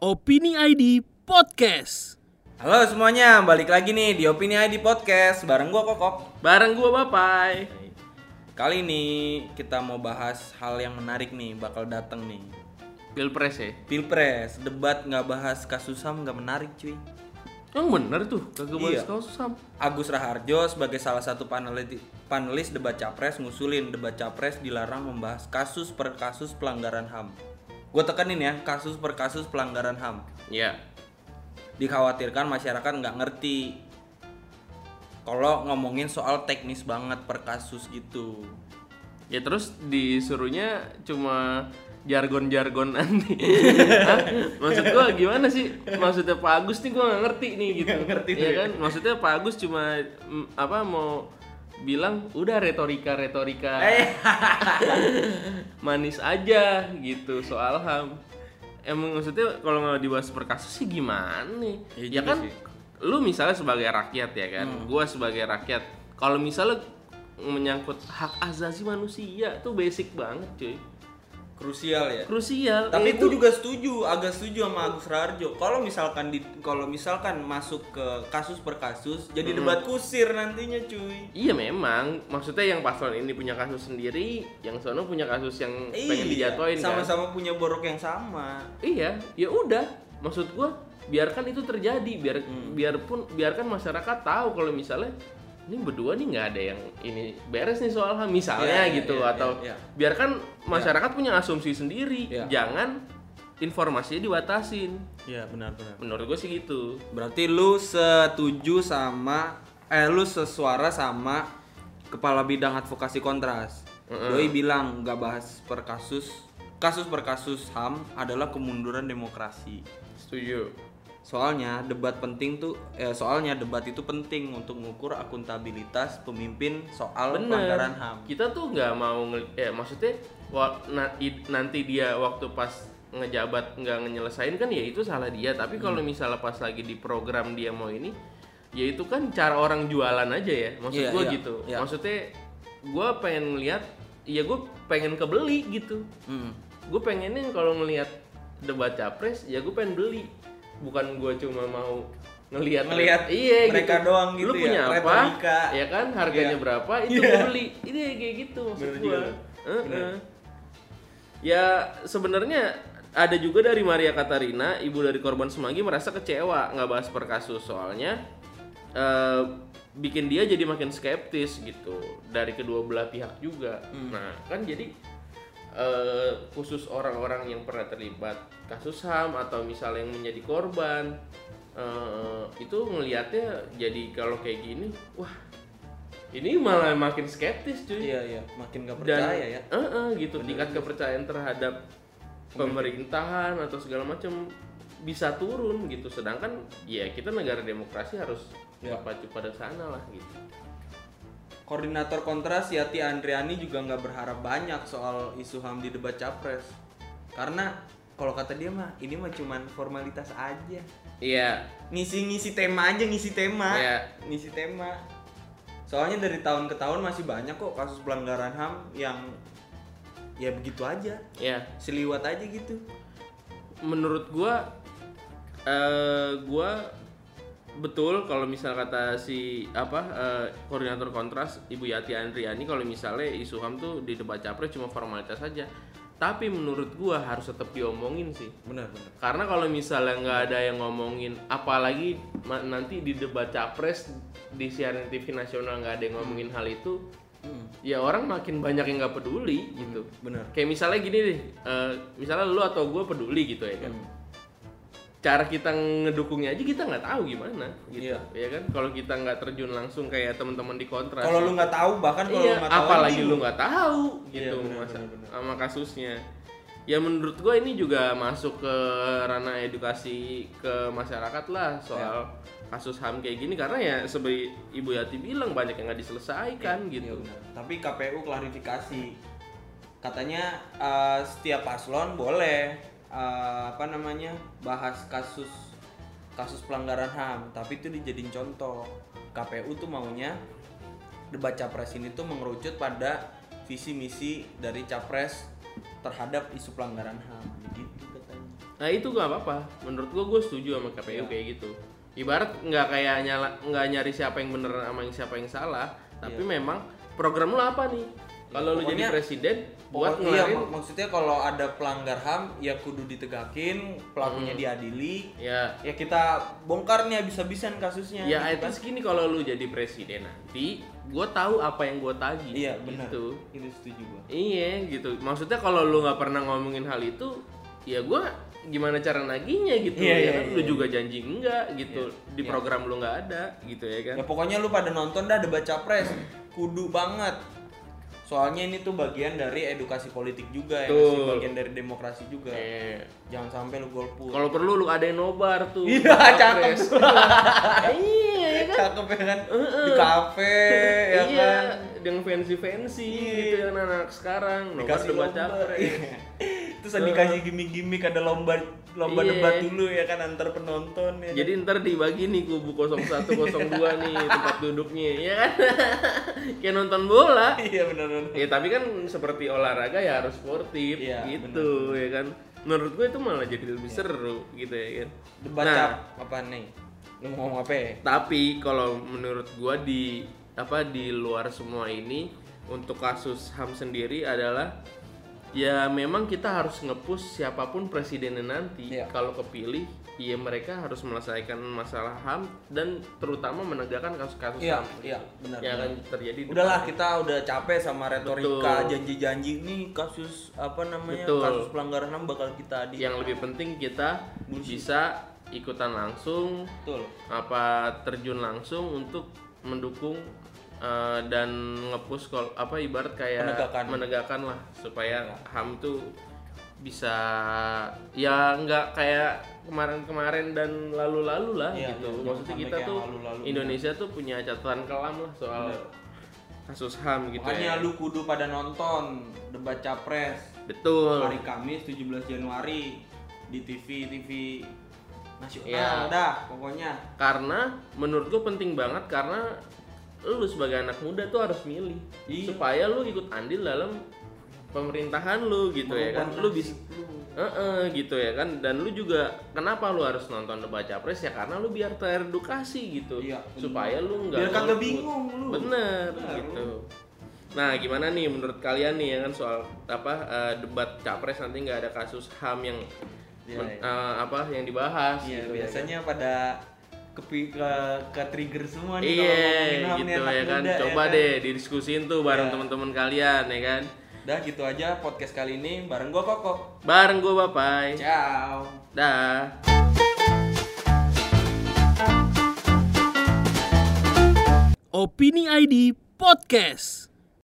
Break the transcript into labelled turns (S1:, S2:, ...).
S1: Opini ID Podcast.
S2: Halo semuanya, balik lagi nih di Opini ID Podcast bareng gua Kokok.
S1: Bareng gua Bapai.
S2: Kali ini kita mau bahas hal yang menarik nih, bakal dateng nih.
S1: Pilpres ya.
S2: Pilpres, debat nggak bahas kasus HAM nggak menarik cuy.
S1: Yang bener tuh, kagak
S2: Iya.
S1: bahas kasus ham.
S2: Agus Raharjo sebagai salah satu panelis, panelis debat capres ngusulin debat capres dilarang membahas kasus per kasus pelanggaran HAM. Gue tekenin ya, kasus per kasus pelanggaran HAM.
S1: Iya.
S2: Dikhawatirkan masyarakat nggak ngerti kalau ngomongin soal teknis banget per kasus gitu.
S3: Ya terus disuruhnya cuma jargon-jargon nanti. Maksud gua gimana sih? Maksudnya Pak Agus nih gua nggak ngerti nih gitu. ngerti ya kan? Maksudnya Pak Agus cuma mm, apa mau bilang udah retorika-retorika manis aja gitu soal HAM. Emang maksudnya kalau nggak dibahas per kasus sih gimana nih?
S1: Iya
S3: Ya,
S1: juga
S3: kan
S1: sih.
S3: lu misalnya sebagai rakyat ya kan, gua sebagai rakyat. Kalau misalnya menyangkut hak asasi manusia tuh basic banget cuy,
S2: Krusial ya.
S3: krusial.
S2: Tapi
S3: Eh,
S2: gue
S3: gua-
S2: juga setuju, agak setuju sama Agus Raharjo. Kalau misalkan di kalau misalkan masuk ke kasus per kasus, jadi debat kusir nantinya, cuy.
S3: Iya memang, maksudnya yang paslon ini punya kasus sendiri, yang sono punya kasus yang
S2: Iya,
S3: pengen dijatuhin kan.
S2: sama-sama punya borok yang sama.
S3: Iya, ya udah. Maksud gua biarkan itu terjadi, biar
S2: Hmm.
S3: biarpun biarkan masyarakat tahu kalau misalnya ini berdua nih nggak ada yang ini beres nih soal HAM misalnya
S2: Iya, iya,
S3: gitu
S2: iya,
S3: atau
S2: iya, iya.
S3: biarkan masyarakat punya asumsi sendiri,
S2: Iya.
S3: jangan informasinya dibatasin.
S2: Iya, benar-benar.
S3: Menurut gue sih gitu.
S2: Berarti lu setuju sama eh lu sesuara sama kepala bidang advokasi kontras. Doi bilang nggak bahas per kasus, kasus per kasus HAM adalah kemunduran demokrasi.
S3: Setuju.
S2: Soalnya debat penting tuh eh, soalnya debat itu penting untuk mengukur akuntabilitas pemimpin soal pelanggaran HAM.
S3: Kita tuh nggak mau ngel- eh maksudnya wa- na- i- nanti dia waktu pas ngejabat nggak nyelesain kan ya itu salah dia. Tapi
S2: Hmm.
S3: kalau misalnya pas lagi di program dia mau ini, ya itu kan cara orang jualan aja ya. Maksud
S2: Iya,
S3: gua
S2: iya,
S3: gitu.
S2: iya.
S3: Maksudnya gua pengen lihat, ya gue pengen kebeli gitu.
S2: Hmm.
S3: Gue pengennya kalau ngelihat debat capres, ya gue pengen beli. Bukan gue cuma mau ngelihat
S2: Ngelihat
S3: iya
S2: mereka doang gitu
S3: lu
S2: ya,
S3: punya apa
S2: retorika.
S3: ya kan harganya
S2: Iya.
S3: berapa itu
S2: Iya.
S3: gue beli ini kayak gitu maksud
S2: Bener juga
S3: gua
S2: lu.
S3: Heeh.
S2: Bener.
S3: ya sebenarnya ada juga dari Maria Katarina ibu dari korban semanggi merasa kecewa nggak bahas per kasus soalnya eh, bikin dia jadi makin skeptis gitu dari kedua belah pihak juga nah kan jadi eh, khusus orang-orang yang pernah terlibat kasus ham atau misalnya yang menjadi korban eh, itu melihatnya jadi kalau kayak gini wah ini malah makin skeptis cuy
S2: Iya iya, makin
S3: dan
S2: gak percaya ya.
S3: eh, eh, gitu tingkat kepercayaan terhadap pemerintahan atau segala macam bisa turun gitu sedangkan ya kita negara demokrasi harus
S2: Ya.
S3: berpacu pada sana lah gitu
S2: Koordinator kontras Yati Andriani juga nggak berharap banyak soal isu HAM di debat capres. Karena kalau kata dia mah ini mah cuman formalitas aja.
S3: iya
S2: Ngisi-ngisi tema aja, ngisi tema.
S3: Iya.
S2: Ngisi tema. Soalnya dari tahun ke tahun masih banyak kok kasus pelanggaran HAM yang ya begitu aja.
S3: iya
S2: seliwat aja gitu
S3: menurut gua eh gua betul kalau misal kata si apa eh, koordinator kontras Ibu Yati Andriani kalau misalnya isu HAM tuh di debat capres cuma formalitas saja. Tapi menurut gua harus tetap diomongin sih.
S2: benar benar
S3: Karena kalau misalnya nggak ada yang ngomongin, apalagi ma- nanti di debat capres di siaran TV nasional nggak ada yang ngomongin hal itu, ya orang makin banyak yang nggak peduli gitu.
S2: Hmm, benar
S3: Kayak misalnya gini deh, eh, misalnya lu atau gue peduli gitu ya kan.
S2: Hmm.
S3: Cara kita ngedukungnya aja kita nggak tahu gimana gitu.
S2: Iya.
S3: Ya kan kalau kita nggak terjun langsung kayak teman-teman di kontras.
S2: kalau lu nggak tahu bahkan
S3: Iya,
S2: Kan kalau lu nggak tahu
S3: apalagi
S2: ini-
S3: lu nggak tahu
S2: Iya,
S3: gitu
S2: benar,
S3: masa-
S2: benar, benar.
S3: sama kasusnya. Ya menurut gue ini juga masuk ke ranah edukasi ke masyarakat lah soal
S2: Ya.
S3: kasus HAM kayak gini karena ya seperti Ibu Yati bilang banyak yang nggak diselesaikan
S2: Iya,
S3: gitu.
S2: benar. tapi KPU klarifikasi katanya eh, setiap paslon boleh eh, apa namanya bahas kasus kasus pelanggaran ham tapi itu dijadiin contoh KPU tuh maunya debat capres ini tuh mengerucut pada visi misi dari capres terhadap isu pelanggaran ham gitu katanya
S3: Nah itu gak apa-apa. Menurut gua gua setuju sama KPU
S2: Iya.
S3: kayak gitu. Ibarat nggak kayak nyala nggak nyari siapa yang bener sama yang siapa yang salah, tapi memang program lu apa nih? Kalau lu jadi
S2: Ya. Pokoknya-
S3: presiden buat
S2: Pokoknya iya,
S3: ngelarin
S2: mak- maksudnya kalau ada pelanggar HAM ya kudu ditegakin, pelakunya diadili.
S3: ya
S2: Ya kita bongkar nih habis-habisan kasusnya.
S3: Ya
S2: gitu
S3: at least gini kalau lu jadi presiden nanti gue tahu apa yang gue tagih
S2: Iya, benar.
S3: gitu.
S2: Itu setuju gua.
S3: Iya gitu Maksudnya kalau lu nggak pernah ngomongin hal itu Ya gue gimana cara naginya gitu
S2: Iya,
S3: ya
S2: iya,
S3: kan?
S2: iya,
S3: Lu
S2: iya.
S3: juga janji enggak gitu Di
S2: iya.
S3: program lu nggak ada gitu ya kan
S2: Ya pokoknya lu pada nonton dah ada baca pres, kudu banget. Soalnya ini tuh bagian dari edukasi politik juga ya,
S3: Betul.
S2: masih bagian dari demokrasi juga.
S3: Eh,
S2: Jangan sampai lu golput.
S3: Kalau perlu lu adain nobar tuh
S2: Iya,
S3: Capres.
S2: cakep tuh.
S3: Iya ya kan
S2: Cakep ya kan? Di kafe ya
S3: Iya
S2: kan. Iya.
S3: Yang fancy-fancy gitu ya anak-anak sekarang Nobar
S2: dikasih
S3: debat
S2: lomba
S3: capres
S2: iya. terus dikasih gimmick-gimmick ada lomba lomba
S3: Iya.
S2: debat dulu ya kan antar penonton ya
S3: Jadi ntar dibagi nih kubu 01, 02 nih tempat duduknya, ya kan? Kayak nonton bola.
S2: iya benar benar
S3: Ya tapi kan seperti olahraga ya harus sportif
S2: Iya,
S3: gitu, ya kan? Menurut gue itu malah jadi lebih seru gitu ya kan?
S2: debat
S3: Nah.
S2: cap apa nih lu mau ngomong apa ya
S3: Tapi kalau menurut gue di apa di luar semua ini untuk kasus HAM sendiri adalah ya memang kita harus ngepush siapapun presidennya nanti
S2: Iya.
S3: kalau kepilih ya mereka harus melesaikan masalah HAM dan terutama menegakkan kasus-kasus
S2: iya
S3: HAM
S2: iya
S3: ya
S2: benar benar.
S3: kan terjadi di-
S2: udahlah kita udah capek sama retorika
S3: Betul.
S2: janji-janji nih kasus apa namanya
S3: Betul. Iya.
S2: kasus pelanggaran ham bakal kita di
S3: yang lebih penting kita bisa ikutan langsung
S2: betul
S3: apa terjun langsung untuk mendukung eh, dan ngepush kol apa ibarat kayak
S2: Penegakan.
S3: menegakkan lah
S2: Iya.
S3: supaya ham tuh bisa ya nggak kayak kemarin-kemarin dan lalu-lalu lah
S2: Iya, iya,
S3: gitu
S2: jangan
S3: maksudnya
S2: sampai
S3: kita
S2: kayak
S3: tuh
S2: lalu-lalu. gitu.
S3: Indonesia tuh punya catatan kelam lah soal kasus ham gitu
S2: makanya
S3: ya
S2: lu kudu pada nonton debat capres
S3: betul
S2: hari Kamis 17 Januari di TV TV nasional
S3: Iya.
S2: dah pokoknya
S3: karena menurut gue penting banget karena lu sebagai anak muda tuh harus milih
S2: Iya.
S3: supaya lu ikut andil dalam pemerintahan lu gitu ya kan lu bisa Heeh, gitu ya kan dan lu juga kenapa lu harus nonton debat capres ya karena lu biar teredukasi gitu
S2: Iya, bener.
S3: supaya lu nggak
S2: biar kagak
S3: golput.
S2: bingung lu
S3: bener
S2: Bener,
S3: gitu nah gimana nih menurut kalian nih ya kan soal apa eh, debat capres nanti nggak ada kasus ham yang
S2: Iya,
S3: men-
S2: iya.
S3: eh, apa yang dibahas
S2: Iya,
S3: gitu ya kan.
S2: biasanya pada kepi ke, ke trigger semua nih kalau Kan ngomongin
S3: Iya
S2: ham nih
S3: gitu
S2: anak
S3: ya kan
S2: muda,
S3: coba
S2: kan?
S3: deh didiskusin tuh bareng
S2: Iya.
S3: teman-teman kalian ya kan
S2: dah gitu aja podcast kali ini bareng gua Koko
S3: bareng gue bapai
S2: Iya. ciao
S3: dah
S1: Opini ID Podcast.